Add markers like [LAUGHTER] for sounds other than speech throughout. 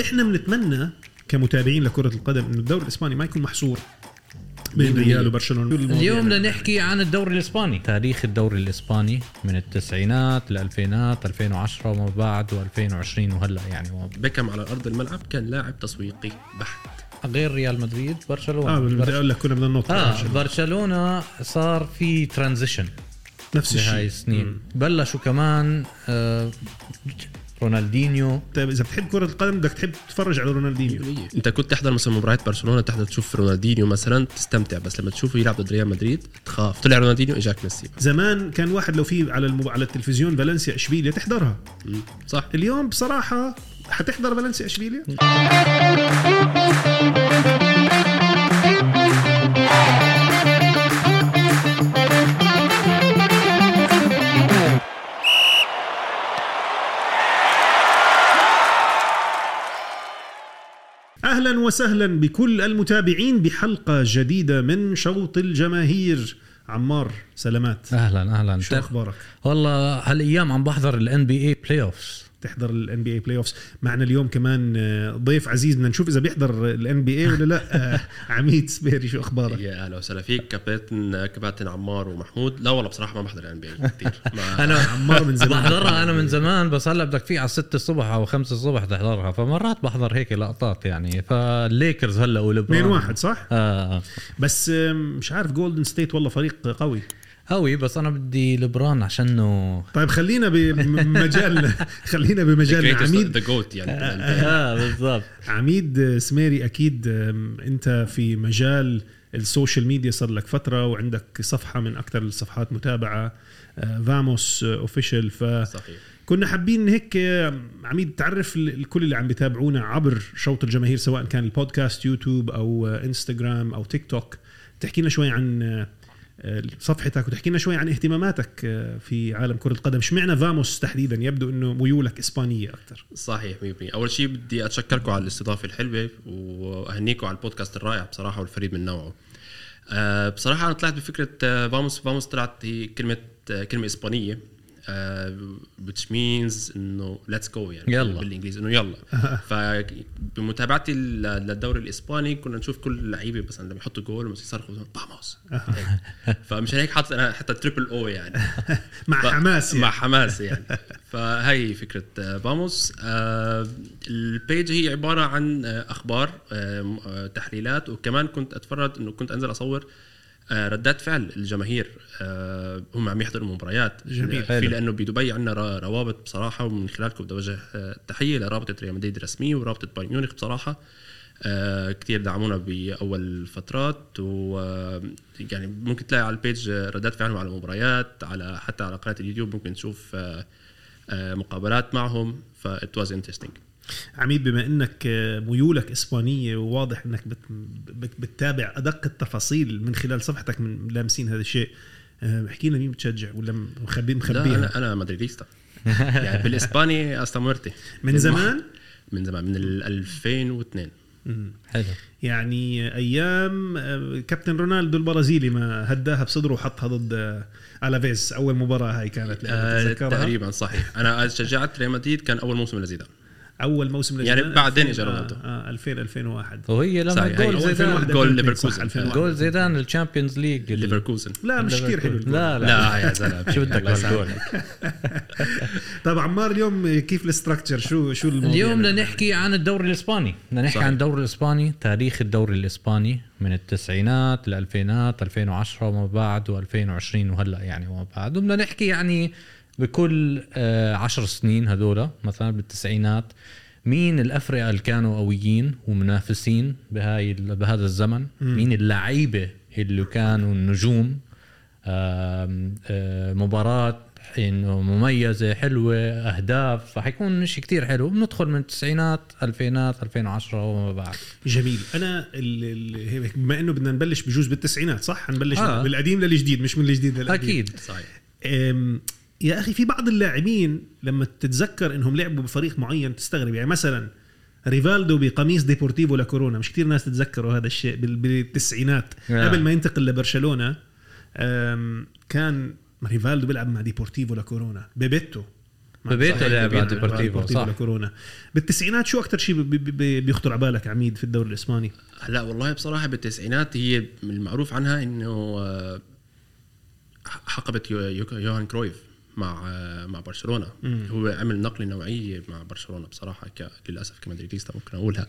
احنا بنتمنى كمتابعين لكرة القدم انه الدوري الاسباني ما يكون محصور بين ريال وبرشلونة اليوم يعني. بدنا نحكي عن الدوري الاسباني تاريخ الدوري الاسباني من التسعينات للألفينات 2010 وما بعد و2020 وهلا يعني وما بيكم على ارض الملعب كان لاعب تسويقي بحت بعد. غير ريال مدريد برشلونه اه بدي برش... اقول لك كنا بدنا ننط على اه برشلونة. برشلونه صار في ترانزيشن نفس بهاي الشيء السنين بلشوا كمان آه رونالدينيو طيب اذا بتحب كرة القدم بدك تحب تتفرج على رونالدينيو انت كنت تحضر مثلا مباريات برشلونه تحضر تشوف رونالدينيو مثلا تستمتع بس لما تشوفه يلعب ضد ريال مدريد تخاف طلع رونالدينيو اجاك ميسي زمان كان واحد لو في على المب... على التلفزيون فالنسيا اشبيليا تحضرها مم. صح اليوم بصراحة حتحضر فالنسيا اشبيليا اهلا وسهلا بكل المتابعين بحلقة جديدة من شوط الجماهير عمار سلامات اهلا اهلا شو اخبارك؟ والله هالايام عم بحضر الان بي اي بلاي اوفز تحضر الان بي اي بلاي اوفز معنا اليوم كمان آه، ضيف عزيز بدنا نشوف اذا بيحضر الان بي اي ولا لا آه، عميد سبيري شو اخبارك يا اهلا وسهلا فيك كابتن كابتن عمار ومحمود لا والله بصراحه ما بحضر الان بي كثير ما- انا عمار من زمان بحضرها انا من زمان بس هلا بدك في على 6 الصبح او 5 الصبح تحضرها فمرات بحضر هيك لقطات يعني فالليكرز هلا ولبران 2 واحد صح آه آه. بس آم، مش عارف جولدن ستيت والله فريق قوي قوي بس انا بدي [LAUGHS] لبران عشانه طيب خلينا بمجال خلينا [LAUGHS] بمجال greatest- عميد the goat يعني اه بالضبط عميد آه، سميري اكيد أم، انت في مجال السوشيال ميديا صار لك فتره وعندك صفحه من اكثر الصفحات متابعه آه، فاموس اوفيشال صحيح. فكنا حابين هيك آه، عميد تعرف ال- الكل اللي عم بيتابعونا عبر شوط الجماهير سواء كان البودكاست يوتيوب او آه، انستغرام او تيك توك تحكي لنا شوي عن آه، آه، صفحتك وتحكي لنا شوي عن اهتماماتك آه، في عالم كره القدم اشمعنى فاموس تحديدا يبدو انه ميولك اسبانيه اكثر صحيح 100% اول شيء بدي اتشكركم على الاستضافه الحلوه واهنيكم على البودكاست الرائع بصراحه والفريد من نوعه أه بصراحه انا طلعت بفكره آه، فاموس فاموس طلعت هي كلمه آه، كلمه اسبانيه آه، which means انه ليتس جو يعني يلا. بالانجليزي انه يلا فبمتابعتي لل- للدوري الاسباني كنا نشوف كل اللعيبه مثلا لما يحطوا جول مثلا يصرخوا فاموس فمشان هيك حاطط انا حتى تريبل او يعني مع ف- حماس يعني. مع حماس يعني فهي فكره آه، فاموس آه، البيج هي عباره عن آه، اخبار آه، م- آه، تحليلات وكمان كنت اتفرج انه كنت انزل اصور آه، ردات فعل الجماهير آه، هم عم يحضروا المباريات جميل. في لانه بدبي عندنا روابط بصراحه ومن خلالكم بدي اوجه آه، تحيه لرابطه ريال مدريد الرسميه ورابطه بايرن ميونخ بصراحه آه، كتير دعمونا باول فترات و آه، يعني ممكن تلاقي على البيج آه، ردات فعلهم على المباريات على حتى على قناه اليوتيوب ممكن تشوف آه، آه، مقابلات معهم ف it was interesting عميد بما انك ميولك اسبانيه وواضح انك بت- بت- بتتابع ادق التفاصيل من خلال صفحتك من لامسين هذا الشيء أه، احكي لنا مين بتشجع ولا مخبي لا مخبيها انا انا مدريديستا يعني بالاسباني استمرتي من زمان من زمان من ال 2002 حلو يعني ايام أه، كابتن رونالدو البرازيلي ما هداها بصدره وحطها ضد أه، الافيز اول مباراه هاي كانت آه، تتذكرها تقريبا صحيح انا شجعت ريال مدريد كان اول موسم لزيدان اول موسم يعني لزيدان، بعدين 2000 إجا رونالدو. آه، آه، 2000 2001 وهي لما صحيح، هي جول أول زيدان 2001. جول 2002 صح، ليفركوزن. 2001. جول زيدان الشامبيونز ليج ليفركوزن لا مش كثير حلو الجول. لا لا لا يا [LAUGHS] زلمه شو بدك الله يسلمك. بالجول طيب عمار اليوم كيف الاستراكشر شو شو الموضوع اليوم بدنا نحكي عن الدوري الاسباني بدنا نحكي صحيح. عن الدوري الاسباني تاريخ الدوري الاسباني من التسعينات للألفينات 2010 وما بعد و2020 وهلا يعني وما بعد وبدنا نحكي يعني بكل آه، عشر سنين هذول مثلا بالتسعينات مين الافرقه اللي كانوا قويين ومنافسين بهاي ال- بهذا الزمن مين اللعيبه اللي كانوا النجوم آم، آه، مباراة انه مميزة حلوة اهداف فحيكون شيء كتير حلو بندخل من التسعينات الفينات 2010 وما بعد جميل انا ال- ال- هيك بما انه بدنا نبلش بجوز بالتسعينات صح حنبلش آه. آه. بالقديم للجديد مش من الجديد للقديم اكيد صحيح أم، يا اخي في بعض اللاعبين لما تتذكر انهم لعبوا بفريق معين تستغرب يعني مثلا ريفالدو بقميص ديبورتيفو لكورونا مش كتير ناس تتذكروا هذا الشيء بال- بالتسعينات آه. قبل ما ينتقل لبرشلونه أم، كان ريفالدو بيلعب مع ديبورتيفو لكورونا بيبيتو ببيته لعب على ديبورتيفو، صح. لكورونا بالتسعينات شو اكثر شيء بي- بي- بي- بيخطر على بالك عميد في الدوري الاسباني هلا والله بصراحه بالتسعينات هي المعروف عنها انه آه، حقبت يو- يو- يوهان كرويف مع آه، مع برشلونه مم. هو عمل نقله نوعيه مع برشلونه بصراحه ك... للاسف كمدريديستا ممكن [LAUGHS] اقولها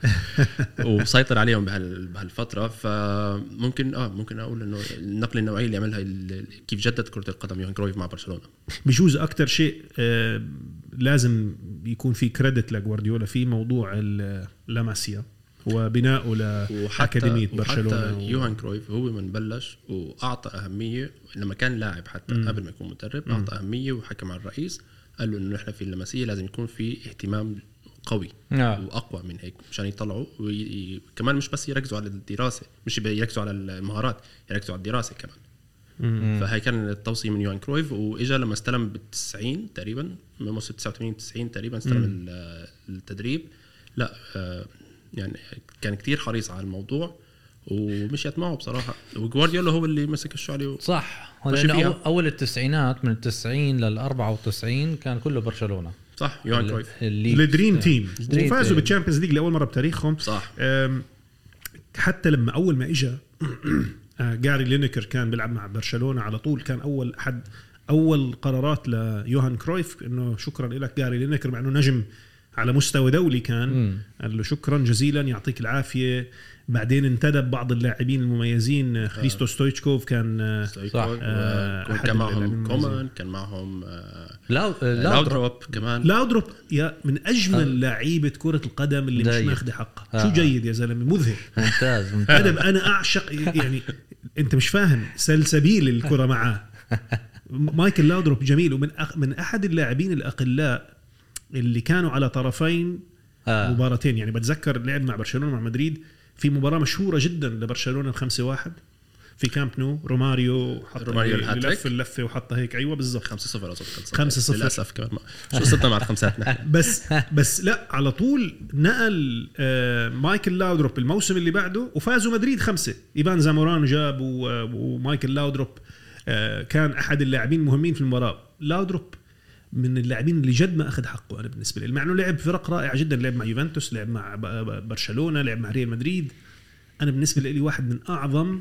وسيطر عليهم بهال... بهالفتره فممكن اه ممكن اقول انه النقله النوعيه اللي عملها ال... كيف جدد كره القدم يوهان كرويف مع برشلونه بجوز اكثر شيء آه، لازم يكون في كريدت لجوارديولا في موضوع ال- آه، لاماسيا وبنائه وحتى لاكاديميه برشلونه وحتى يوهان كرويف هو من بلش واعطى اهميه لما كان لاعب حتى مم. قبل ما يكون مدرب اعطى اهميه وحكى مع الرئيس قال له انه نحن في اللمسيه لازم يكون في اهتمام قوي نعم واقوى من هيك مشان يطلعوا وكمان مش بس يركزوا على الدراسه مش يركزوا على المهارات يركزوا على الدراسه كمان مم. فهي كان التوصيه من يوهان كرويف واجا لما استلم بال 90 تقريبا من موسم 89 90 تقريبا استلم مم. ال- التدريب لا آه، يعني كان كتير حريص على الموضوع ومشيت معه بصراحه وجوارديولا هو اللي مسك الشعلي صح ماشي لأنه فيها. أول- اول التسعينات من التسعين لل 94 كان كله برشلونه صح يوهان كرويف اللي آه. الدريم تيم الدريم وفازوا تيم. بالتشامبيونز ليج لاول مره بتاريخهم صح أم، حتى لما اول ما اجى [CLEARS THROAT] آه، جاري لينكر كان بيلعب مع برشلونه على طول كان اول حد اول قرارات ليوهان كرويف انه شكرا لك جاري لينكر مع انه نجم على مستوى دولي كان مم. قال له شكرا جزيلا يعطيك العافيه بعدين انتدب بعض اللاعبين المميزين آه، خريستو ستويتشكوف كان آه، صح آه، أحد كان معهم اللاعبين كومان كان معهم آه، لاو لاو لاودروب كمان لاودروب يا من اجمل لعيبه كره القدم اللي مش آه. جيد. ماخذه حقها آه. شو جيد يا زلمه مذهل ممتاز ممتاز انا انا اعشق يعني انت مش فاهم سلسبيل الكره معاه مايكل لاودروب جميل ومن أخ من احد اللاعبين الاقلاء اللي كانوا على طرفين آه. مباراتين يعني بتذكر لعب مع برشلونه مع مدريد في مباراه مشهوره جدا لبرشلونه 5 1 في كامب نو روماريو حط روماريو اللي الهاتريك. لف اللفه وحطها هيك ايوه بالظبط 5 0 اظن كان 5 صفر. للاسف كمان ما- شو قصتنا مع الخمسات نحن بس [LAUGHS] بس لا على طول نقل آه، مايكل لاودروب الموسم اللي بعده وفازوا مدريد خمسه ايبان زاموران جاب و- ومايكل لاودروب آه، كان احد اللاعبين المهمين في المباراه لاودروب من اللاعبين اللي جد ما اخذ حقه انا بالنسبه لي مع انه لعب فرق رائعه جدا لعب مع يوفنتوس لعب مع ب- ب- برشلونه لعب مع ريال مدريد انا بالنسبه لي واحد من اعظم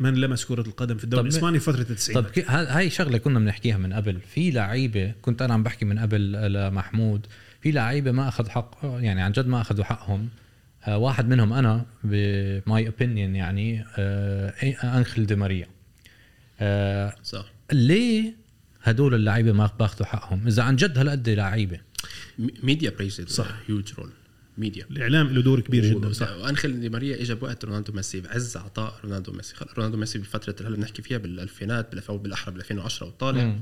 من لمس كره القدم في الدوري طب- الاسباني في فتره طب التسعينات كي- ه- هاي شغله كنا بنحكيها من قبل في لعيبه كنت انا عم بحكي من قبل آه، لمحمود في لعيبه ما اخذ حق يعني عن جد ما اخذوا حقهم آه، واحد منهم انا بماي اوبينيون يعني آه، انخل دي ماريا آه، صح ليه هدول اللعيبه ما باخذوا حقهم اذا عن جد إيه هالقد لعيبه مي- ميديا بلايز صح. هيوج رول ميديا الاعلام له دور كبير جدا صح وانخل دي ماريا اجى بوقت رونالدو ميسي بعز عطاء رونالدو ميسي خلص رونالدو ميسي بفتره اللي هلا بنحكي فيها بالالفينات بالألف- او بالاحرى بال 2010 وطالع مم.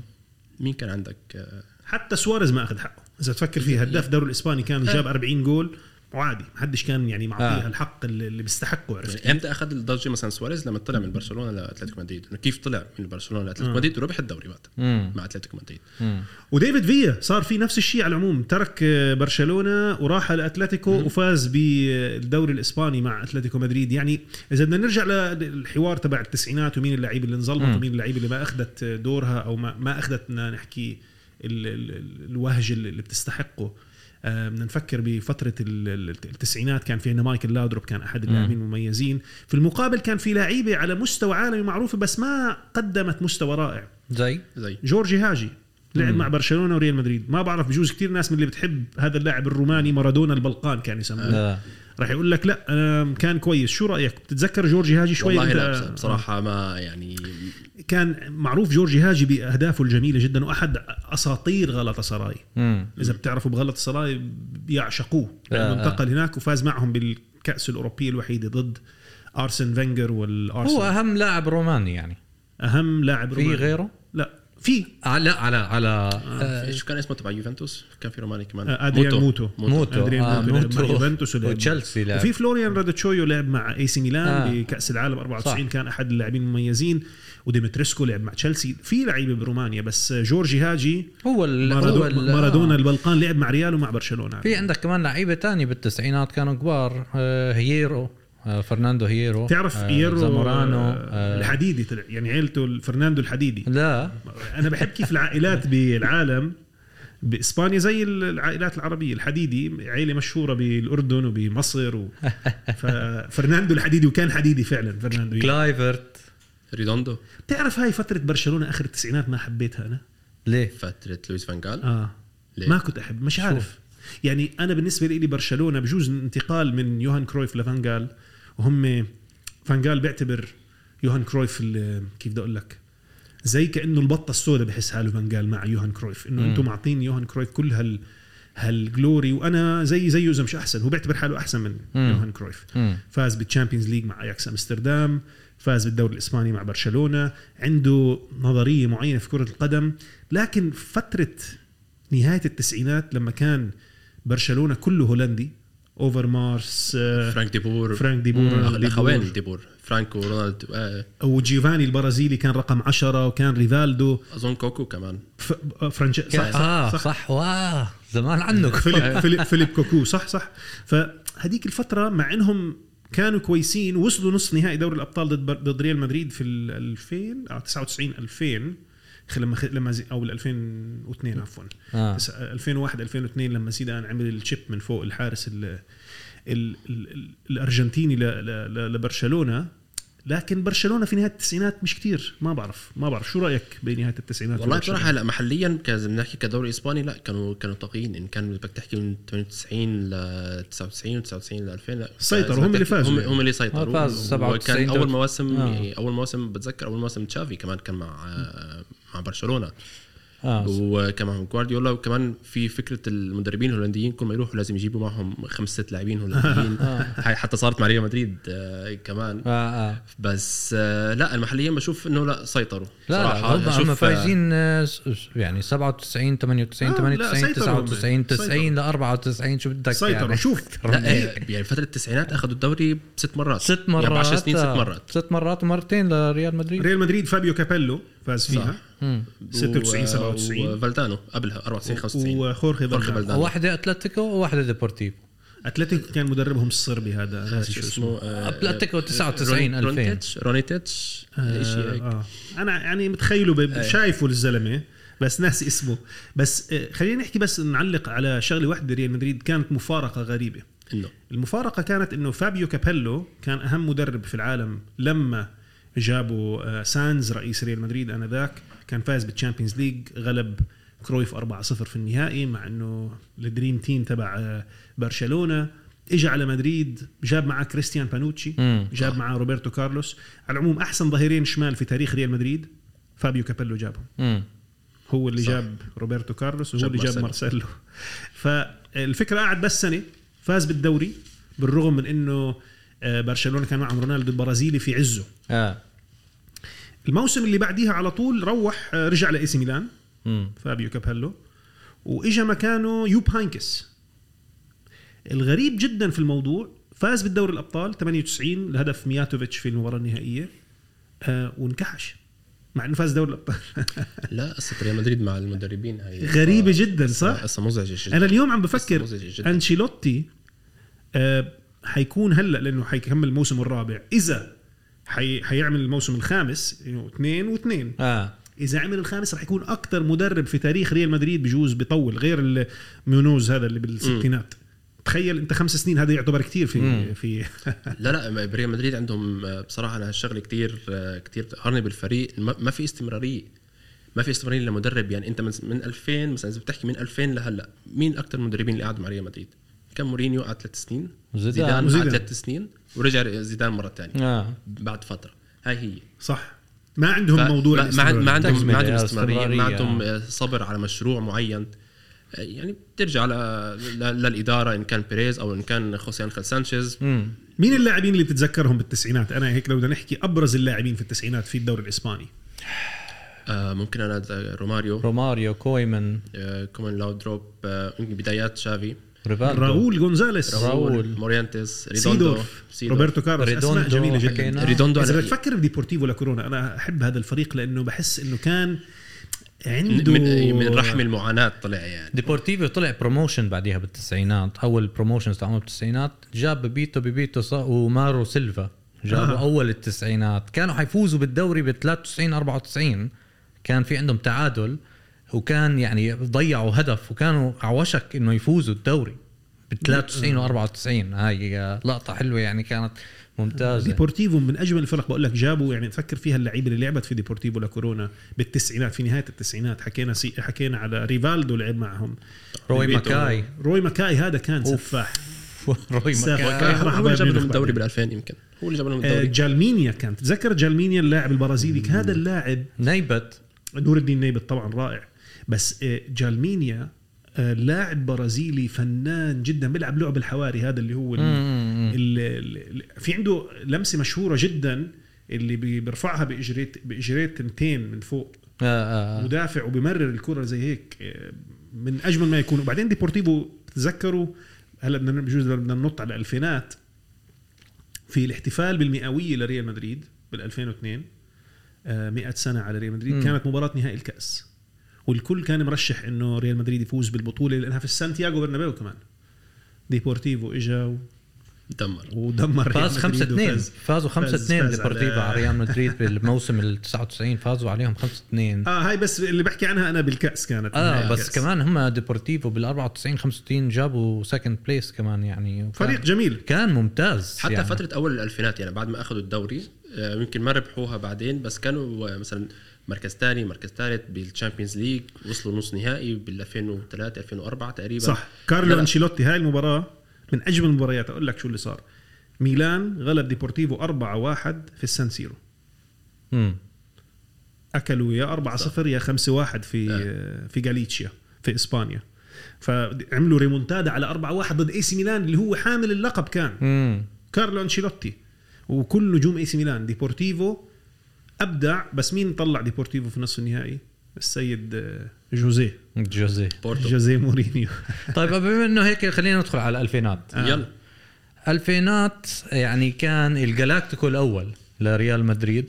مين كان عندك آه، حتى سواريز ما اخذ حقه اذا تفكر فيه هداف الدوري الاسباني كان جاب 40 جول وعادي ما حدش كان يعني معطيه آه. الحق اللي اللي بيستحقه عرفت يعني امتى اخذ الضجه مثلا سواريز لما طلع من برشلونه لاتلتيكو مدريد إنه كيف طلع من برشلونه لاتلتيكو مدريد وربح الدوري وقتها مم. مع اتلتيكو مدريد مم. وديفيد فيا صار في نفس الشيء على العموم ترك آه، برشلونه وراح لاتلتيكو وفاز بالدوري الاسباني مع اتلتيكو مدريد يعني اذا بدنا نرجع للحوار تبع التسعينات ومين اللعيبه اللي انظلمت مم. ومين اللعيبه اللي ما اخذت دورها او ما ما اخذت بدنا نحكي ال- ال- ال- الوهج اللي اللي بتستحقه آه، بدنا نفكر بفتره ال- ال- التسعينات كان في عندنا مايكل لاودروب كان احد اللاعبين المميزين في المقابل كان في لعيبه على مستوى عالمي معروفه بس ما قدمت مستوى رائع زي زي جورجي هاجي لعب مع برشلونه وريال مدريد ما بعرف بجوز كثير ناس من اللي بتحب هذا اللاعب الروماني مارادونا البلقان كان يسموه آه. راح يقول لك لا أنا كان كويس شو رايك بتتذكر جورجي هاجي شوي والله أنت- لا بص- بصراحه ما يعني كان معروف جورجي هاجي باهدافه الجميله جدا واحد اساطير غلطه سراي مم. اذا بتعرفوا بغلط سراي بيعشقوه لانه آه. انتقل هناك وفاز معهم بالكاس الاوروبيه الوحيده ضد ارسن فينجر هو والارسنال اهم لاعب روماني يعني اهم لاعب في روماني. غيره لا في على على على آه، شو كان اسمه تبع يوفنتوس كان في روماني كمان آه، أدريان موتو. موتو أندريا آه، موتو لعب مع موتو يوفنتوس ولعب مع- [LAUGHS] وتشيلسي لعب وفي فلوريان رادتشويو لعب مع اي سي ميلان آه. آه. بكاس العالم 94 صح. كان احد اللاعبين المميزين وديمتريسكو لعب مع تشيلسي في لعيبه برومانيا بس جورجي هاجي هو ال- هو مارادونا, ال- مارادونا آه. البلقان لعب مع ريال ومع برشلونه في عندك كمان لعيبه تانية بالتسعينات كانوا كبار آه، هييرو آه، فرناندو هييرو تعرف آه، ايرو زامورانو آه، آه، الحديدي طلع يعني عيلته فرناندو الحديدي لا [LAUGHS] انا بحب كيف العائلات بالعالم باسبانيا زي العائلات العربيه الحديدي عائله مشهوره بالاردن وبمصر [LAUGHS] و... ففرناندو الحديدي وكان حديدي فعلا فرناندو يعني. كلايفرت ريدوندو بتعرف هاي فتره برشلونه اخر التسعينات ما حبيتها انا ليه؟ فتره لويس فان جال اه ليه؟ ما كنت احب مش عارف يعني انا بالنسبه لي برشلونه بجوز انتقال من يوهان كرويف لفانجال وهم فانجال بيعتبر يوهان كرويف ال- كيف بدي اقول لك زي كانه البطه السوداء بحس حاله فانجال مع يوهان كرويف انه انتم معطين يوهان كرويف كل هال هالجلوري وانا زي زيه اذا مش احسن هو بيعتبر حاله احسن من مم. يوهان كرويف مم. فاز بالتشامبيونز ليج مع اياكس امستردام فاز بالدوري الاسباني مع برشلونه عنده نظريه معينه في كره القدم لكن فتره نهايه التسعينات لما كان برشلونه كله هولندي اوفر مارس فرانك ديبور فرانك ديبور آه، رونالد ديبور. الاخوين ديبور فرانك ورونالد آه، وجيفاني البرازيلي كان رقم عشرة وكان ريفالدو اظن كوكو كمان ف... آه، فرانش... صح اه صح, صح واه زمان [LAUGHS] عنك فيليب فيليب فيليب كوكو صح صح فهذيك الفتره مع انهم كانوا كويسين وصلوا نصف نهائي دوري الابطال ضد بر- ضد ريال مدريد في ال آه، 2000 او 99 2000 خ- لما خ- لما زي- او ال 2002 عفوا آه. تس- 2001 2002 لما زيدان عمل الشيب من فوق الحارس ال ال ال ال الارجنتيني ل- ل- ل- لبرشلونه لكن برشلونه في نهايه التسعينات مش كتير ما بعرف ما بعرف شو رايك بنهايه التسعينات والله ببرشلونة؟ بصراحه هلا محليا كز- بنحكي كدوري اسباني لا كانوا كانوا طاغيين ان كان بدك تحكي من 98 ل 99 و 99 ل 2000 لا سيطروا، إذا هم اللي بدك تحكي- فازوا هم, يعني. هم اللي سيطروا آه، فاز وكان 97 اول تلاتة. مواسم آه. يعني اول مواسم بتذكر اول موسم تشافي كمان كان مع آه، مع برشلونه اه وكمان جوارديولا وكمان في فكره المدربين الهولنديين كل ما يروحوا لازم يجيبوا معهم خمس ست لاعبين [LAUGHS] هولنديين آه. هاي حتى صارت مع ريال مدريد آه، كمان اه آه. بس آه، لا المحليين بشوف انه لا سيطروا لا صراحة. لا هم- هم بشوف، فايزين آه، س- س- يعني 97 98 آه، لا، 98 سيطروا هم. 99 90 ل سيطروا. 94 شو بدك سيطروا يعني شوف [LAUGHS] آه، لا آه، يعني فتره التسعينات اخذوا الدوري ست مرات ست يعني مرات ب 10 سنين ست آه، مرات ست مرات ومرتين لريال مدريد ريال مدريد فابيو كابيلو فاز فيها 96 و- 97 وفالدانو قبلها 94 95 وخورخي خورخي فالدانو فالدانو واحدة اتلتيكو وواحدة ديبورتيفو اتلتيكو كان مدربهم الصربي هذا أنا ناسي شو شو اسمه اسمه آه، أتلتيكو 99 روني- 2000. رونيتيتش- رونيتيتش شيء آه هيك. آه. انا يعني متخيله ب- شايفه الزلمه بس ناسي اسمه بس آه، خلينا نحكي بس نعلق على شغله واحده ريال مدريد كانت مفارقه غريبه انه المفارقه كانت انه فابيو كابيلو كان اهم مدرب في العالم لما جابوا آه، سانز رئيس ريال مدريد انذاك كان فاز بالتشامبيونز ليج غلب كرويف 4-0 في النهائي مع انه الدريم تيم تبع آه، برشلونه اجى على مدريد جاب معاه كريستيان بانوتشي مم. جاب معاه روبرتو كارلوس على العموم احسن ظهيرين شمال في تاريخ ريال مدريد فابيو كابيلو جابهم مم. هو اللي صح. جاب روبرتو كارلوس وهو جاب اللي جاب مارسيلو فالفكره قعد بس سنه فاز بالدوري بالرغم من انه آه، برشلونه كان معهم رونالدو البرازيلي في عزه اه الموسم اللي بعديها على طول روح آه، رجع لاي سي ميلان مم. فابيو كابيلو واجا مكانه يوب هاينكس الغريب جدا في الموضوع فاز بالدوري الابطال 98 لهدف مياتوفيتش في المباراه النهائيه آه، وانكحش مع انه فاز دوري [LAUGHS] الابطال لا قصه ريال مدريد مع المدربين هي غريبه جدا صح؟ قصه مزعجه جدا انا اليوم عم بفكر مزعجة جداً. انشيلوتي آه حيكون هلا لانه حيكمل الموسم الرابع اذا حي... حيعمل الموسم الخامس يعني اثنين واثنين اه اذا عمل الخامس رح يكون اكثر مدرب في تاريخ ريال مدريد بجوز بطول غير ال- ميونوز هذا اللي بالستينات تخيل انت خمس سنين هذا يعتبر كثير في في [LAUGHS] لا لا ما- بريال مدريد عندهم آه، بصراحه انا هالشغله كثير كثير بتقهرني آه، بالفريق ما ما في استمراريه ما في استمراريه لمدرب يعني انت من من 2000 مثلا اذا بتحكي من 2000 لهلا مين اكثر المدربين اللي قعدوا مع ريال مدريد؟ كان مورينيو قعد ثلاث سنين زيدان. زيدان وزيدان. قعد ثلاث سنين ورجع زيدان مره ثانيه اه بعد فتره هاي هي صح ما عندهم ف- موضوع ما- ما, عن- ما الاستمرار. عندهم تجميل، ما عندهم آه، استمراريه استمرارية. ما عندهم آه، صبر على مشروع معين آه، يعني بترجع ل... ل... للاداره ان كان بيريز او ان كان خوسيه انخيل سانشيز مم. مين اللاعبين اللي بتتذكرهم بالتسعينات انا هيك لو بدنا نحكي ابرز اللاعبين في التسعينات في الدوري الاسباني آه، ممكن انا أتذكر روماريو روماريو كويمن آه، كومان لاودروب آه، بدايات شافي ريفالدو راؤول غونزاليس راؤول. مورينتس ريدوندو سيدورف سيدورف. روبرتو كارلوس اسماء ريدوندو جميله جدا حكينا. ريدوندو اذا أنا- بتفكر بديبورتيفو لكورونا انا احب هذا الفريق لانه بحس انه كان عنده من إيه، من رحم المعاناه طلع يعني ديبورتيفو طلع بروموشن بعديها بالتسعينات اول بروموشنز تعمل بالتسعينات جاب بيبيتو بيبيتو ص- ومارو سيلفا جابوا آه. آه. اول التسعينات كانوا حيفوزوا بالدوري ب 93 94 كان في عندهم تعادل وكان يعني ضيعوا هدف وكانوا على وشك انه يفوزوا الدوري ب 93 و 94 هاي لقطه حلوه يعني كانت ممتازه ديبورتيفو من اجمل الفرق بقول لك جابوا يعني تفكر فيها اللعيبه اللي لعبت في ديبورتيفو لكورونا بالتسعينات في نهايه التسعينات حكينا سي حكينا على ريفالدو لعب معهم روي بالبيت. ماكاي. روي ماكاي هذا كان أوف. سفاح [LAUGHS] روي سافر. مكان كان هو راح اللي بايرن جاب لهم ميونخ الدوري بعدين. بال 2000 يمكن هو اللي جاب لهم آه، الدوري جالمينيا كان تتذكر جالمينيا اللاعب البرازيلي هذا اللاعب نيبت نور الدين نيبت طبعا رائع بس آه، جالمينيا آه، لاعب برازيلي فنان جدا بيلعب لعب الحواري هذا اللي هو ال- ال- ال- ال- في عنده لمسه مشهوره جدا اللي بي- بيرفعها باجريت باجريت تنتين من فوق آه، آه، آه. مدافع وبمرر الكره زي هيك آه، من اجمل ما يكون وبعدين ديبورتيفو تذكروا هلا بدنا بجوز بدنا ننط على الالفينات في الاحتفال بالمئويه لريال مدريد بال 2002 آه، 100 سنه على ريال مدريد مم. كانت مباراه نهائي الكاس والكل كان مرشح انه ريال مدريد يفوز بالبطوله لانها في سانتياغو برنابيو كمان ديبورتيفو اجا و- دمر ودمر ريال فاز 5 مدريد 2 وفاز. فازوا 5 فاز- 2 فاز ديبورتيفو على- على ريال [LAUGHS] مدريد بالموسم ال 99 فازوا عليهم 5 2 اه هاي بس اللي بحكي عنها انا بالكاس كانت نهائي اه بس الكأس. كمان هم ديبورتيفو بال 94 65 جابوا سكند بليس كمان يعني وكان- فريق جميل كان ممتاز حتى يعني. يعني. فتره اول الالفينات يعني بعد ما اخذوا الدوري آه، يمكن ما ربحوها بعدين بس كانوا آه، مثلا مركز ثاني مركز ثالث بالتشامبيونز ليج وصلوا نص نهائي بال 2003 2004 تقريبا صح لا، كارلو لا. انشيلوتي هاي المباراه من اجمل المباريات اقول لك شو اللي صار ميلان غلب ديبورتيفو 4-1 في السان سيرو مم. اكلوا يا 4-0 يا 5-1 في في غاليتشيا في اسبانيا فعملوا ريمونتادا على 4-1 ضد اي سي ميلان اللي هو حامل اللقب كان مم. كارلو انشيلوتي وكل نجوم اي سي ميلان ديبورتيفو ابدع بس مين طلع ديبورتيفو في نصف النهائي السيد آه، جوزيه جوزي بورتو جوزيه مورينيو [LAUGHS] طيب بما انه هيك خلينا ندخل على الالفينات آه. يلا الفينات يعني كان الجالاكتيكو الاول لريال مدريد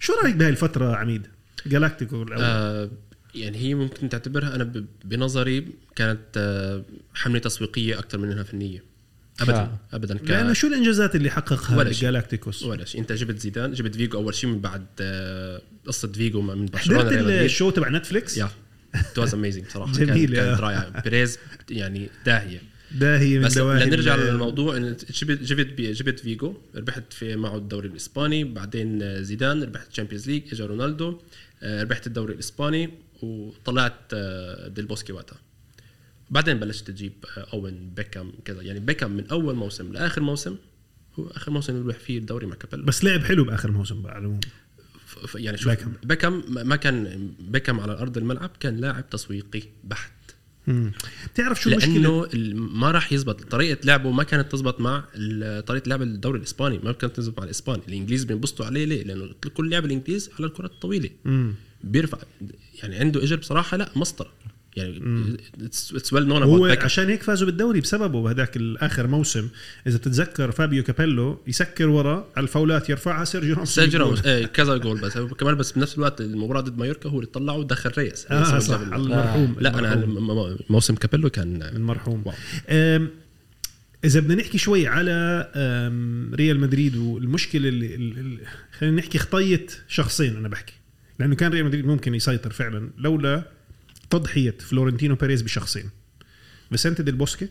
شو رايك بهاي الفتره عميد جالاكتيكو الاول آه يعني هي ممكن تعتبرها انا ب- بنظري كانت آه حمله تسويقيه اكثر من انها فنيه ابدا آه. ابدا ك- لانه شو الانجازات اللي حققها ولا شيء. جالاكتيكوس ولا شيء انت جبت زيدان جبت فيجو اول شيء من بعد آه، قصه فيجو من برشلونه حضرت ريال مدريد. الشو تبع نتفليكس يا ات واز اميزنج صراحه جميل، جميل كانت, كانت آه. رائعه بريز يعني داهيه ده هي من بس دواهي لنرجع ال- للموضوع إن جبت جبت بي- جبت فيجو ربحت في معه الدوري الاسباني بعدين آه، زيدان ربحت الشامبيونز ليج اجى رونالدو آه، ربحت الدوري الاسباني وطلعت آه، ديل بوسكي وقتها بعدين بلشت تجيب آه، اوين بيكام كذا يعني بيكام من اول موسم لاخر موسم هو اخر موسم اللي ربح فيه الدوري مع كابيلا بس لعب حلو باخر موسم بقى على العموم ف- ف- يعني شوف بيكهام. بيكم. بيكم ما كان بيكم على ارض الملعب كان لاعب تسويقي بحت مم. بتعرف شو المشكله لانه ال- ما راح يزبط طريقه لعبه ما كانت تزبط مع ال- طريقه لعب الدوري الاسباني ما كانت تزبط مع الاسباني الانجليز بينبسطوا عليه ليه لانه كل لعب الانجليز على الكرات الطويله مم. بيرفع يعني عنده اجر بصراحه لا مسطره يعني اتس ويل نون هو اباوت بيكم عشان هيك فازوا بالدوري بسببه بهداك الاخر موسم اذا بتتذكر فابيو كابيلو يسكر ورا على الفاولات يرفعها سيرجيو راموس سيرجيو يجيب راموس إيه، كذا جول بس [LAUGHS] كمان بس بنفس الوقت المباراه ضد مايوركا هو اللي طلعه ودخل ريس جول. اه صح على المرحوم آه. لا انا المرحوم. الم- م- موسم كابيلو كان المرحوم واو. أم، اذا بدنا نحكي شوي على أم، ريال مدريد والمشكله اللي ال- ال- خلينا نحكي خطيت شخصين انا بحكي لانه كان ريال مدريد ممكن يسيطر فعلا لولا تضحيه فلورنتينو بيريز بشخصين فيسنتي ديل بوسكي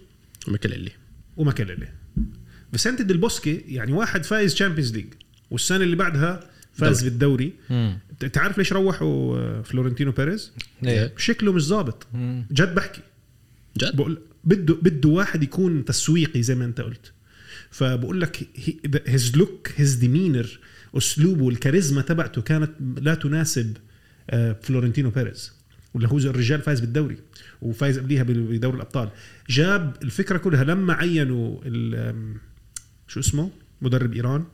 ماكليلي وماكاليلي فيسنتي ديل بوسكي يعني واحد فايز تشامبيونز ليج والسنه اللي بعدها فاز دوري. بالدوري مم. بت- تعرف ليش روحوا آه، فلورنتينو بيريز ليه؟ شكله مش ظابط مم. جد بحكي جد بقول بده بده واحد يكون تسويقي زي ما انت قلت فبقول لك هيز لوك هيز ديمينر اسلوبه الكاريزما تبعته كانت لا تناسب آه، فلورنتينو بيريز واللي هو الرجال فايز بالدوري وفايز قبليها بال- بدوري الابطال جاب الفكره كلها لما عينوا ال- آم، شو اسمه مدرب ايران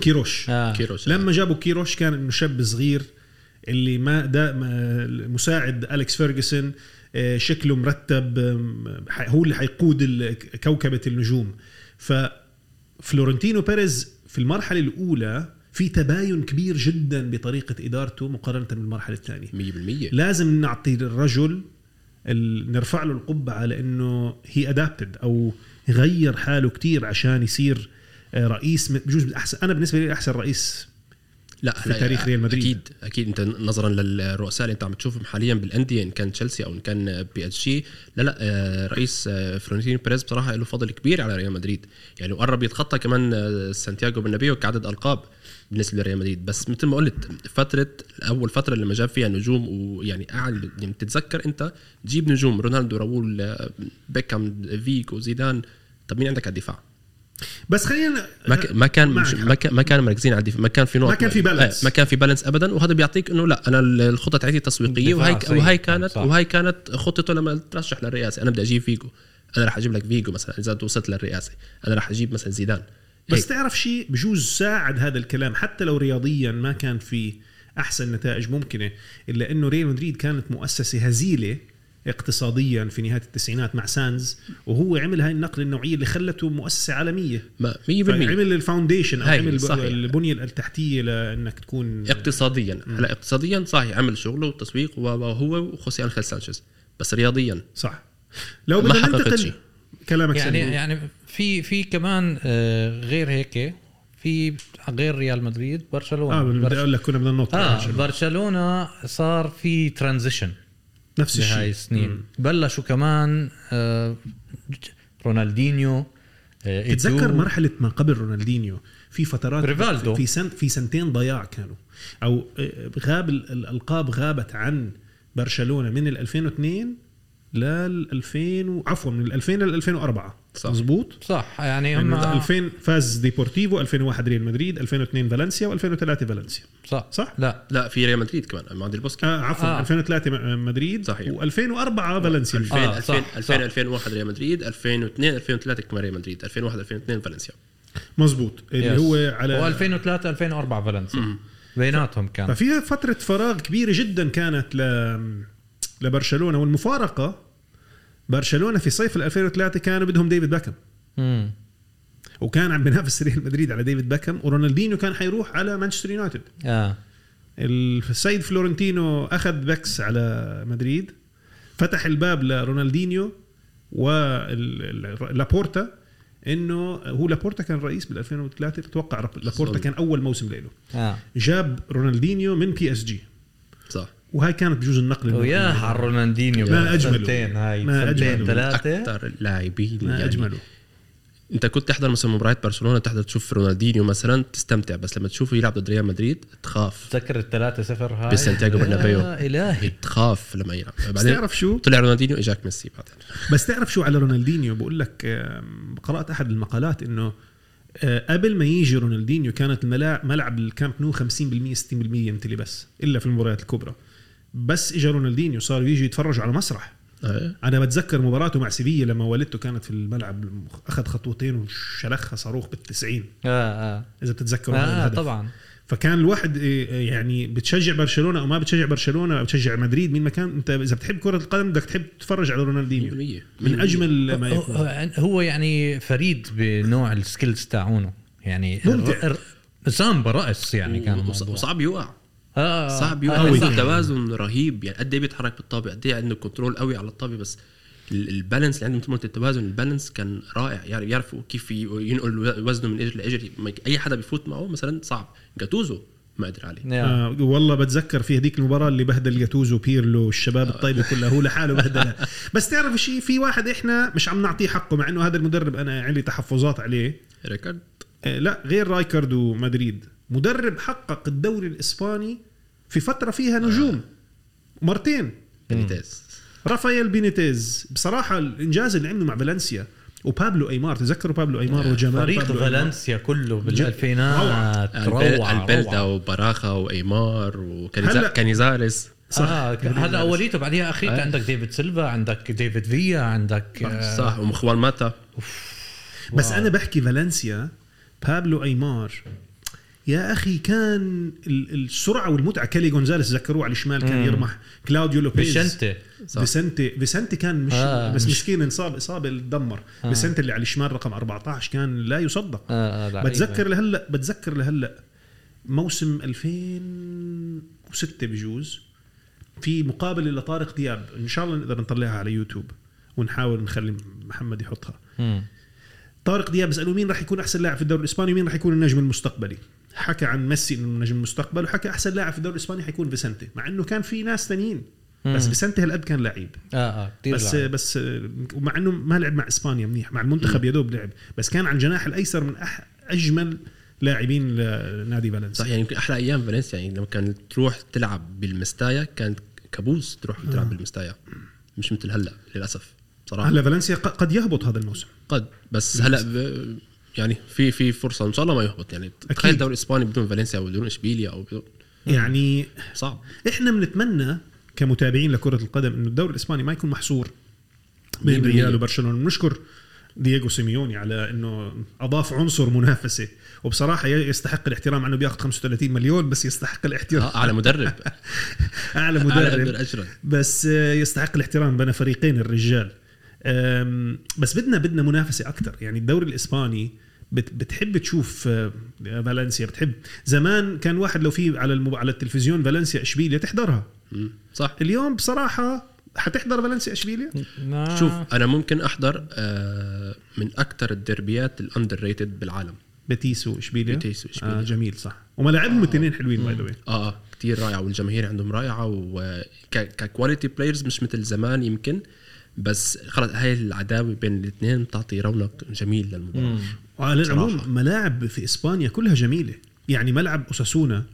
كيروش آه. كيروش لما جابوا كيروش كان انه شاب صغير اللي ما دا ما مساعد اليكس فيرجسون آه، شكله مرتب آم، ح- هو اللي حيقود ال- كوكبه النجوم ف فلورنتينو بيريز في المرحله الاولى في تباين كبير جدا بطريقه ادارته مقارنه بالمرحله الثانيه 100% لازم نعطي الرجل ال- نرفع له القبعه لانه هي ادابتد او غير حاله كتير عشان يصير آه، رئيس م- بجوز من احسن انا بالنسبه لي احسن رئيس لا في تاريخ ريال مدريد. اكيد اكيد انت نظرا للرؤساء اللي انت عم تشوفهم حاليا بالانديه ان كان تشيلسي او ان كان بي اس جي لا لا آه، رئيس آه، فلورنتينو بيريز بصراحه له فضل كبير على ريال مدريد يعني وقرب يتخطى كمان آه، سانتياغو برنابيو كعدد القاب بالنسبه لريال مدريد بس مثل ما قلت فتره اول فتره لما جاب فيها نجوم ويعني قاعد يعني بتتذكر انت جيب نجوم رونالدو راؤول آه، بيكهام فيجو زيدان طب مين عندك على الدفاع؟ بس خلينا ما ك- ما كان معك مش ما كان ما كان مركزين على الدفاع ما كان في نوع ما كان في بالانس. آه، ما كان في بالانس ابدا وهذا بيعطيك انه لا انا ال- الخطه تاعتي تسويقيه الدفاع وهي سيء. وهي كانت صح. وهي كانت خطته لما ترشح للرئاسه انا بدي اجيب فيجو انا راح اجيب لك فيجو مثلا اذا انت وصلت للرئاسه انا راح اجيب مثلا زيدان هيك. بس تعرف شيء بجوز ساعد هذا الكلام حتى لو رياضيا ما كان في احسن نتائج ممكنه الا انه ريال مدريد كانت مؤسسه هزيله اقتصاديا في نهايه التسعينات مع سانز وهو عمل هاي النقله النوعيه اللي خلته مؤسسه عالميه ما- 100% طيب، عمل الفاونديشن او هاي عمل صحيح. البنيه التحتيه لانك تكون اقتصاديا هلا اقتصاديا صحيح عمل شغله وتسويق وهو وخوسيه انخيل سانشيز بس رياضيا صح لو ما بدنا حققت ننتقل شيء. كلامك يعني سليم. يعني في في كمان آه، غير هيك في غير ريال مدريد برشلونه اه بدي برش- اقول لك كنا بدنا ننط اه آه، برشلونه صار في ترانزيشن نفس الشيء بهاي السنين بلشوا كمان آه، رونالدينيو آه، إيتو. تتذكر مرحله ما قبل رونالدينيو في فترات ريفالدو. في سن في سنتين ضياع كانوا او آه، غاب ال- الالقاب غابت عن برشلونه من ال 2002 لل 2000 و- عفوا من ال 2000 لل 2004 صح. مظبوط صح يعني هم يعني 2000 فاز ديبورتيفو 2001 ريال مدريد 2002 فالنسيا و2003 فالنسيا صح صح؟ لا لا في ريال مدريد كمان مع ديل بوسكي آه عفوا آه. آه. 2003 م- مدريد صحيح. و2004 فالنسيا 2000 آه، صح، 2000 صح. 2000 2001 ريال مدريد 2002 2003 كمان ريال مدريد 2001 2002 فالنسيا مظبوط اللي يس. هو على و2003 2004 فالنسيا بيناتهم كان ففيها فترة فراغ كبيرة جدا كانت ل... لبرشلونة والمفارقة برشلونة في صيف ال 2003 كانوا بدهم ديفيد باكم مم. وكان عم بينافس ريال مدريد على ديفيد باكم ورونالدينيو كان حيروح على مانشستر يونايتد اه السيد فلورنتينو اخذ بكس على مدريد فتح الباب لرونالدينيو ولابورتا انه هو لابورتا كان رئيس بال 2003 بتوقع لابورتا كان اول موسم له اه جاب رونالدينيو من بي اس جي صح وهاي كانت بجوز النقله ويا المهمة. على رونالدينيو ما بس أجمله. سنتين هاي ما أجمله. سنتين ثلاثه اكثر لاعبين ما يعني اجمله انت كنت تحضر مثلا مباريات برشلونه تحضر تشوف رونالدينيو مثلا تستمتع بس لما تشوفه يلعب ضد ريال مدريد تخاف تذكر الثلاثة صفر هاي بسانتياغو برنابيو. [LAUGHS] يا الهي تخاف لما يلعب بس بعدين تعرف شو طلع رونالدينيو اجاك ميسي بعدين بس تعرف شو على رونالدينيو بقول لك آم، قرات احد المقالات انه آه، قبل ما يجي رونالدينيو كانت الملا- ملعب الكامب نو 50% 60% يمتلي بس الا في المباريات الكبرى بس اجى رونالدينيو صاروا يجي يتفرجوا على مسرح آه. انا بتذكر مباراته مع سيفيا لما والدته كانت في الملعب اخذ خطوتين وشلخها صاروخ بال90 اه اه اذا بتتذكر هذا اه الهدف. طبعا فكان الواحد إيه، إيه، يعني بتشجع برشلونه او ما بتشجع برشلونه او بتشجع مدريد مين مكان انت اذا بتحب كره القدم بدك تحب تتفرج على رونالدينيو 100% من اجمل ما يكون هو- هو يعني فريد بنوع السكيلز تاعونه يعني ممتع. الر- الر- سامبا رأس يعني كان وص- الموضوع وصعب يوقع آه، آه. صعب آه، يوقع عنده صح. توازن رهيب يعني قد ايه بيتحرك بالطابه قد ايه عنده كنترول قوي على الطابه بس ال- البالانس اللي عنده مثل ما قلت التوازن البالانس كان رائع يعني بيعرف كيف ي- ينقل وزنه من اجر لاجر ما- اي حدا بيفوت معه مثلا صعب جاتوزو ما قدر عليه يا. آه والله بتذكر في هذيك المباراه اللي بهدل جاتوزو بيرلو الشباب الطيبه كلها هو لحاله بهدلها بس تعرف شيء في واحد احنا مش عم نعطيه حقه مع انه هذا المدرب انا عندي تحفظات عليه ريكارد آه لا غير رايكارد ومدريد مدرب حقق الدوري الاسباني في فتره فيها نجوم مرتين بنيتيز رافائيل بينيتيز بصراحه الانجاز اللي عمله مع فالنسيا وبابلو ايمار تذكروا بابلو ايمار وجمال آه، فريق بابلو أيمار. فالنسيا كله روعة. بالالفينات روعة آه، البلدا روعة. وبراخا وايمار هلا- وكانيزاريس صح آه هذا اوليته بعديها اخيته آه. عندك ديفيد سيلفا عندك ديفيد فيا عندك آه، صح ومخوان ماتا بس واو. انا بحكي فالنسيا بابلو ايمار يا اخي كان ال- السرعه والمتعه كالي جونزاليس ذكروه على الشمال كان يرمح كلاوديو لوبيز فيشنتي صح. فيسنتي فيسنتي كان مش آه آه، بس مش- مسكين انصاب اصابه اللي تدمر آه فيسنتي اللي على الشمال رقم 14 كان لا يصدق آه، آه، لعيبة. بتذكر لهلا بتذكر لهلا موسم 2006 بجوز في مقابله لطارق دياب ان شاء الله نقدر نطلعها على يوتيوب ونحاول نخلي محمد يحطها مم. طارق دياب بيسالوه مين راح يكون احسن لاعب في الدوري الاسباني ومين راح يكون النجم المستقبلي حكى عن ميسي انه نجم المستقبل وحكى احسن لاعب في الدوري الاسباني حيكون فيسنتي مع انه كان في ناس ثانيين بس مم. فيسنتي هالقد كان لعيب اه اه كثير بس لعب. بس ومع انه ما لعب مع اسبانيا منيح مع المنتخب يا دوب لعب بس كان عن جناح الايسر من أح اجمل لاعبين لنادي فالنسيا صح يعني يمكن احلى ايام فالنسيا يعني لما كانت تروح تلعب بالمستايا كانت كابوس تروح آه. تلعب بالمستايا مش مثل هلا للاسف بصراحه هلا فالنسيا ق- قد يهبط هذا الموسم قد بس هلا ب... يعني في في فرصه ان شاء الله ما يهبط يعني تخيل الدوري الاسباني بدون فالنسيا او بدون اشبيليا او بدون يعني صعب احنا بنتمنى كمتابعين لكره القدم انه الدوري الاسباني ما يكون محصور بين 100%. ريال وبرشلونه بنشكر دييغو سيميوني على انه اضاف عنصر منافسه وبصراحه يستحق الاحترام عنه بياخذ 35 مليون بس يستحق الاحترام آه، اعلى [LAUGHS] مدرب اعلى اعلى مدرب مدرب اجرا بس آه، يستحق الاحترام بين فريقين الرجال آم، بس بدنا بدنا منافسه اكثر يعني الدوري الاسباني بت- بتحب تشوف آه، فالنسيا بتحب زمان كان واحد لو في على المب... على التلفزيون فالنسيا اشبيليا تحضرها صح اليوم بصراحه حتحضر فالنسيا اشبيليا آه. شوف انا ممكن احضر آه، من اكثر الديربيات الاندر ريتد بالعالم بتيس واشبيليا بيتيس وإشبيليا. آه جميل صح وملاعبهم الاثنين حلوين باي ذا اه اه كثير رائعه والجماهير عندهم رائعه وككواليتي بلايرز مش مثل زمان يمكن بس خلص هاي العداوه بين الاثنين بتعطي رونق جميل للمباراه وعلى صراحة. العموم ملاعب في اسبانيا كلها جميله يعني ملعب اوساسونا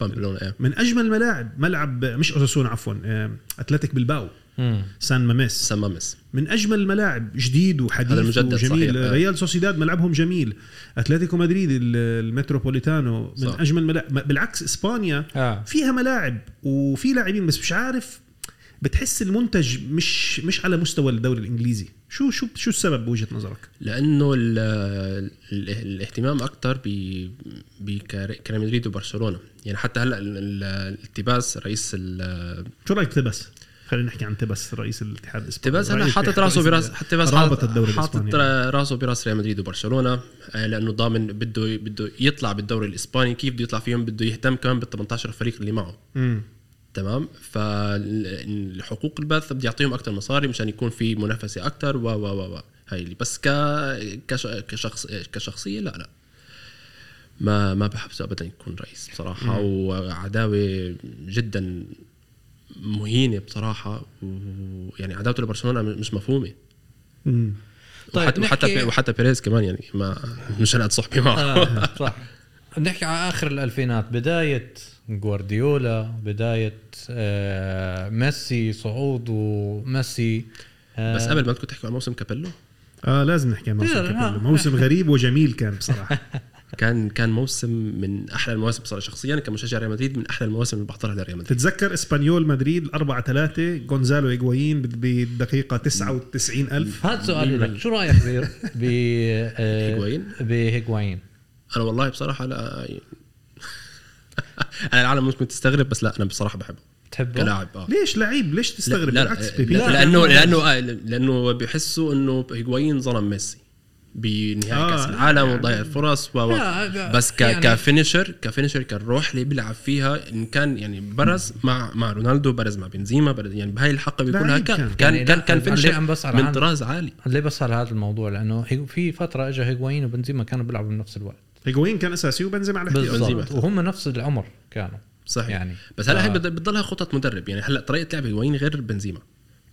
بامبلونا ايه من اجمل الملاعب ملعب مش اوساسونا عفوا آه، اتلتيك بلباو مم. سان ماميس سمامس من اجمل الملاعب جديد وحديث هذا المجدد وجميل صحيح. آه. ريال سوسيداد ملعبهم جميل اتلتيكو مدريد ال- المتروبوليتانو من صح. اجمل ملاعب بالعكس اسبانيا اه فيها ملاعب وفي لاعبين بس مش عارف بتحس المنتج مش مش على مستوى الدوري الانجليزي شو شو شو السبب بوجهه نظرك لانه ال ال الاهتمام اكثر بكريم مدريد وبرشلونه يعني حتى هلا ال- ال- التباس رئيس ال- شو رايك تبس خلينا نحكي عن تبس رئيس الاتحاد الاسباني تباس هلا رئيس- حاطط راسه رئيس براس حتى بس رابط حاطط- الدوري حاطط الإسباني. را- راسه براس ريال مدريد وبرشلونه آه، لانه ضامن بده بده يطلع بالدوري الاسباني كيف بده يطلع فيهم بده يهتم كمان بال 18 فريق اللي معه مم. تمام فالحقوق البث بده يعطيهم اكثر مصاري مشان يكون في منافسه اكثر و و و و هاي اللي بس ك كش- كشخص كشخصيه لا لا ما ما بحبسه ابدا يكون رئيس بصراحه وعداوه جدا مهينه بصراحه ويعني يعني عداوته لبرشلونه مش مفهومه مم. طيب وحتى نحكي- وحتى وحتى بيريز كمان يعني ما مش انا قد صحبي معه آه، صح [LAUGHS] نحكي عن اخر الالفينات بدايه جوارديولا بدايه آه ميسي صعود وميسي آه بس قبل ما تكون تحكوا عن موسم كابيلو اه لازم نحكي عن موسم لا، لا. كابيلو موسم غريب وجميل كان [LAUGHS] بصراحه كان كان موسم من احلى المواسم بصراحه شخصيا كمشجع ريال مدريد من احلى المواسم اللي بحضرها لريال مدريد تتذكر اسبانيول مدريد 4 3 جونزالو ايغوايين بالدقيقه 99 ألف هذا سؤالي لك شو رايك [LAUGHS] ب ب آه، هيغوايين؟ بهيغوايين انا والله بصراحه لا [LAUGHS] انا العالم ممكن تستغرب بس لا انا بصراحه بحبه بتحبه؟ كلاعب اه ليش لعيب ليش تستغرب لا لا بالعكس لا بيبي لا. لانه لانه آه، لانه بيحسوا انه هيغوايين ظلم ميسي بنهائي آه، كاس العالم يعني- وضيع الفرص و لا، لا، و- بس ك يعني- كفينشر كفينشر كالروح اللي بيلعب فيها ان كان يعني برز مع مع رونالدو برز مع بنزيما برز يعني بهاي الحقبه لعيب كلها كان. كان كان يعني كان, لا، كان أنا ليه فينشر عم بسأل من عنه؟ طراز عالي ليه بس على هذا الموضوع لانه هيغ- في فتره اجى هيغوايين وبنزيما كانوا بيلعبوا بنفس الوقت هيغوايين كان اساسي وبنزيما على الاحتياط بنزيما. بالضبط وهم نفس العمر كانوا صحيح يعني بس هلا آه. هي بت- بتضلها خطط مدرب يعني هلا طريقه لعب هيغوين غير بنزيما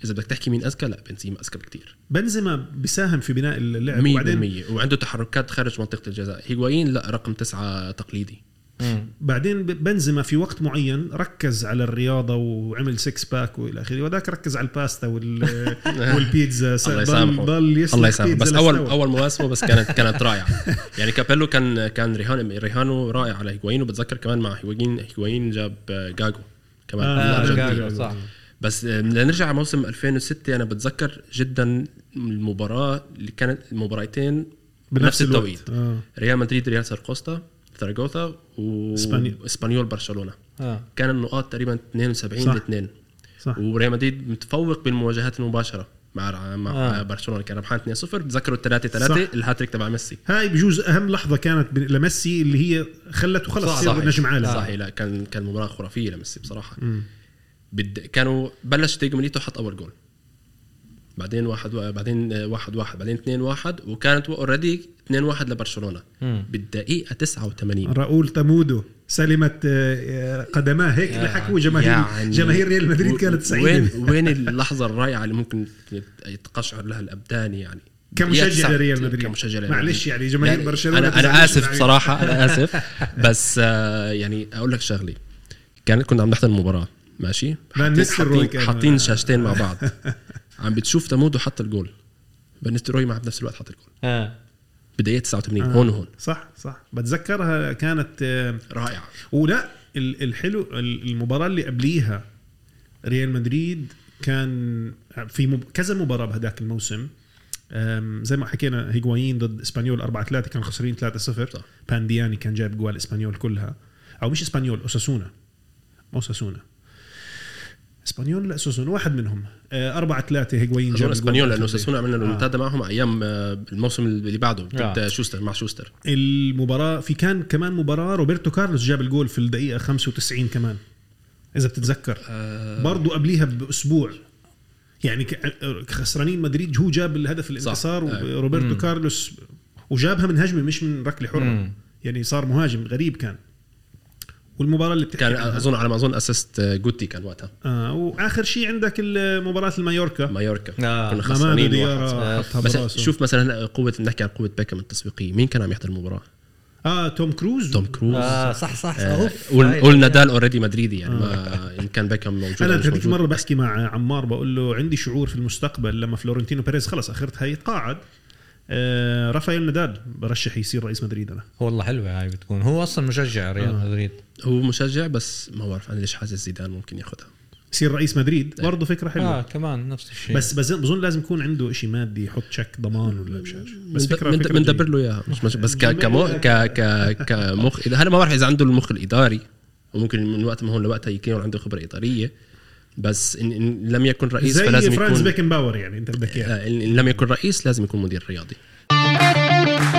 اذا بدك تحكي مين اذكى لا بنزيما اذكى بكثير بنزيما بيساهم في بناء يعني اللعب 100% وعنده تحركات خارج منطقه الجزاء هيغوين لا رقم تسعة تقليدي مم. بعدين ب- بنزيما في وقت معين ركز على الرياضه وعمل سكس باك والى اخره وذاك ركز على الباستا وال [LAUGHS] والبيتزا س- الله ضل- يسامحه ضل يسلق الله يسامحه بيتزا بس اول لستوى. اول مواسمه بس [LAUGHS] كانت كانت رائعه يعني كابيلو كان كان ريهان ريهانو رائع على هيغوين وبتذكر كمان مع هيغوين هيغوين جاب آه، جاجو كمان آه، من آه، جاجو. الأرجنتين. جاجو، صح بس آه، لنرجع على موسم 2006 انا بتذكر جدا المباراه اللي كانت المباراتين بنفس الوقت. التوقيت آه. ريال مدريد ريال ساركوستا ساراغوثا و إسبانيول. اسبانيول برشلونه آه. كان النقاط تقريبا 72 صح. ل 2 صح وريال مدريد متفوق بالمواجهات المباشره مع مع آه. آه. برشلونه كان ربحان 2-0 بتذكروا 3-3 صح. الهاتريك تبع ميسي هاي بجوز اهم لحظه كانت بن- لميسي اللي هي خلته خلص يصير نجم عالم صحيح لا كان كان مباراه خرافيه لميسي بصراحه بد... كانوا بلش ديجو ميليتو حط اول جول بعدين واحد بعدين آه، واحد واحد بعدين اثنين واحد وكانت اوريدي 2 واحد لبرشلونه مم. بالدقيقه 89 راؤول تمودو سلمت آه، آه، قدماه هيك ضحكوا جماهير يعني جماهير ريال مدريد و- كانت وين سعيده وين اللحظه الرائعه اللي ممكن يتقشعر لها الابدان يعني كمشجع بالدقيقة لريال 90 مدريد كمشجع لريال معلش يعني جماهير يعني برشلونه انا تزعلش انا اسف معي. بصراحه [LAUGHS] انا اسف بس آه، يعني اقول لك شغله كان كنا عم نحضر المباراه ماشي فان حاطين- نيستلروي حاطين كان- حاطين شاشتين مع [LAUGHS] بعض عم بتشوف تمودو حط الجول فان نيستلروي مع بنفس الوقت حط الجول آه. بدايه 89 هون وهون صح صح بتذكرها كانت آه، رائعه ولا ال- الحلو ال- المباراه اللي قبليها ريال مدريد كان في مب... كذا مباراه بهداك الموسم أم، زي ما حكينا هيغوايين ضد اسبانيول 4 3 كانوا خسرين 3 0 صح. باندياني كان جاب جوال اسبانيول كلها او مش اسبانيول اوساسونا ما اوساسونا اسبانيول لا اوساسونا واحد منهم آه، 4 3 هيغوايين جون جاب اسبانيول لانه اوساسونا ساسونا عملنا الريمونتادا معهم ايام آه، الموسم اللي بعده ضد آه. شوستر مع شوستر المباراة في كان كمان مباراة روبرتو كارلوس جاب الجول في الدقيقة 95 كمان إذا بتتذكر آه، برضو قبليها بأسبوع يعني ك- خسرانين مدريد هو جاب الهدف الانتصار صح. أيوة. وروبرتو كارلوس وجابها من هجمة مش من ركلة حرة مم. يعني صار مهاجم غريب كان والمباراة اللي بتحكي كان آه. عنها. اظن على ما اظن اسيست آه، جوتي كان وقتها آه واخر شيء عندك ال- مباراة المايوركا مايوركا آه. كنا مامادو خسرانين واحد. آه. ديارا حطها بس براسه شوف مثلا قوه نحكي عن قوه باكم التسويقيه مين كان عم يحضر المباراه اه توم كروز توم كروز اه صح صح صح آه، اوف قول هاي. قول نادال اوريدي مدريدي يعني ما ان كان باكم موجود انا أو مش هذيك موجود. مره بحكي مع عمار بقول له عندي شعور في المستقبل لما فلورنتينو بيريز خلص اخرتها يتقاعد آه رافائيل نادال برشح يصير رئيس مدريد انا والله حلوه هاي بتكون هو اصلا مشجع ريال مدريد هو مشجع بس ما بعرف انا ليش حاسس زيدان ممكن ياخذها يصير رئيس طيب. مدريد برضه فكره حلوه اه آه. كمان نفس الشيء بس بس بظن لازم يكون عنده شيء مادي يحط شيك ضمان ولا مش عارف بس فكره فكره بندبر جميلة. له اياها مش مش بس ك جميل. كمو ك ك كمخ إذا- هلا ما بعرف اذا عنده المخ الاداري وممكن من وقت ما هون لوقتها يكون عنده خبره اداريه بس إن, ان لم يكن رئيس زي فلازم فرانز يكون بيكن باور يعني انت بدك اياه آه، ان إن لم يكن رئيس لازم يكون مدير رياضي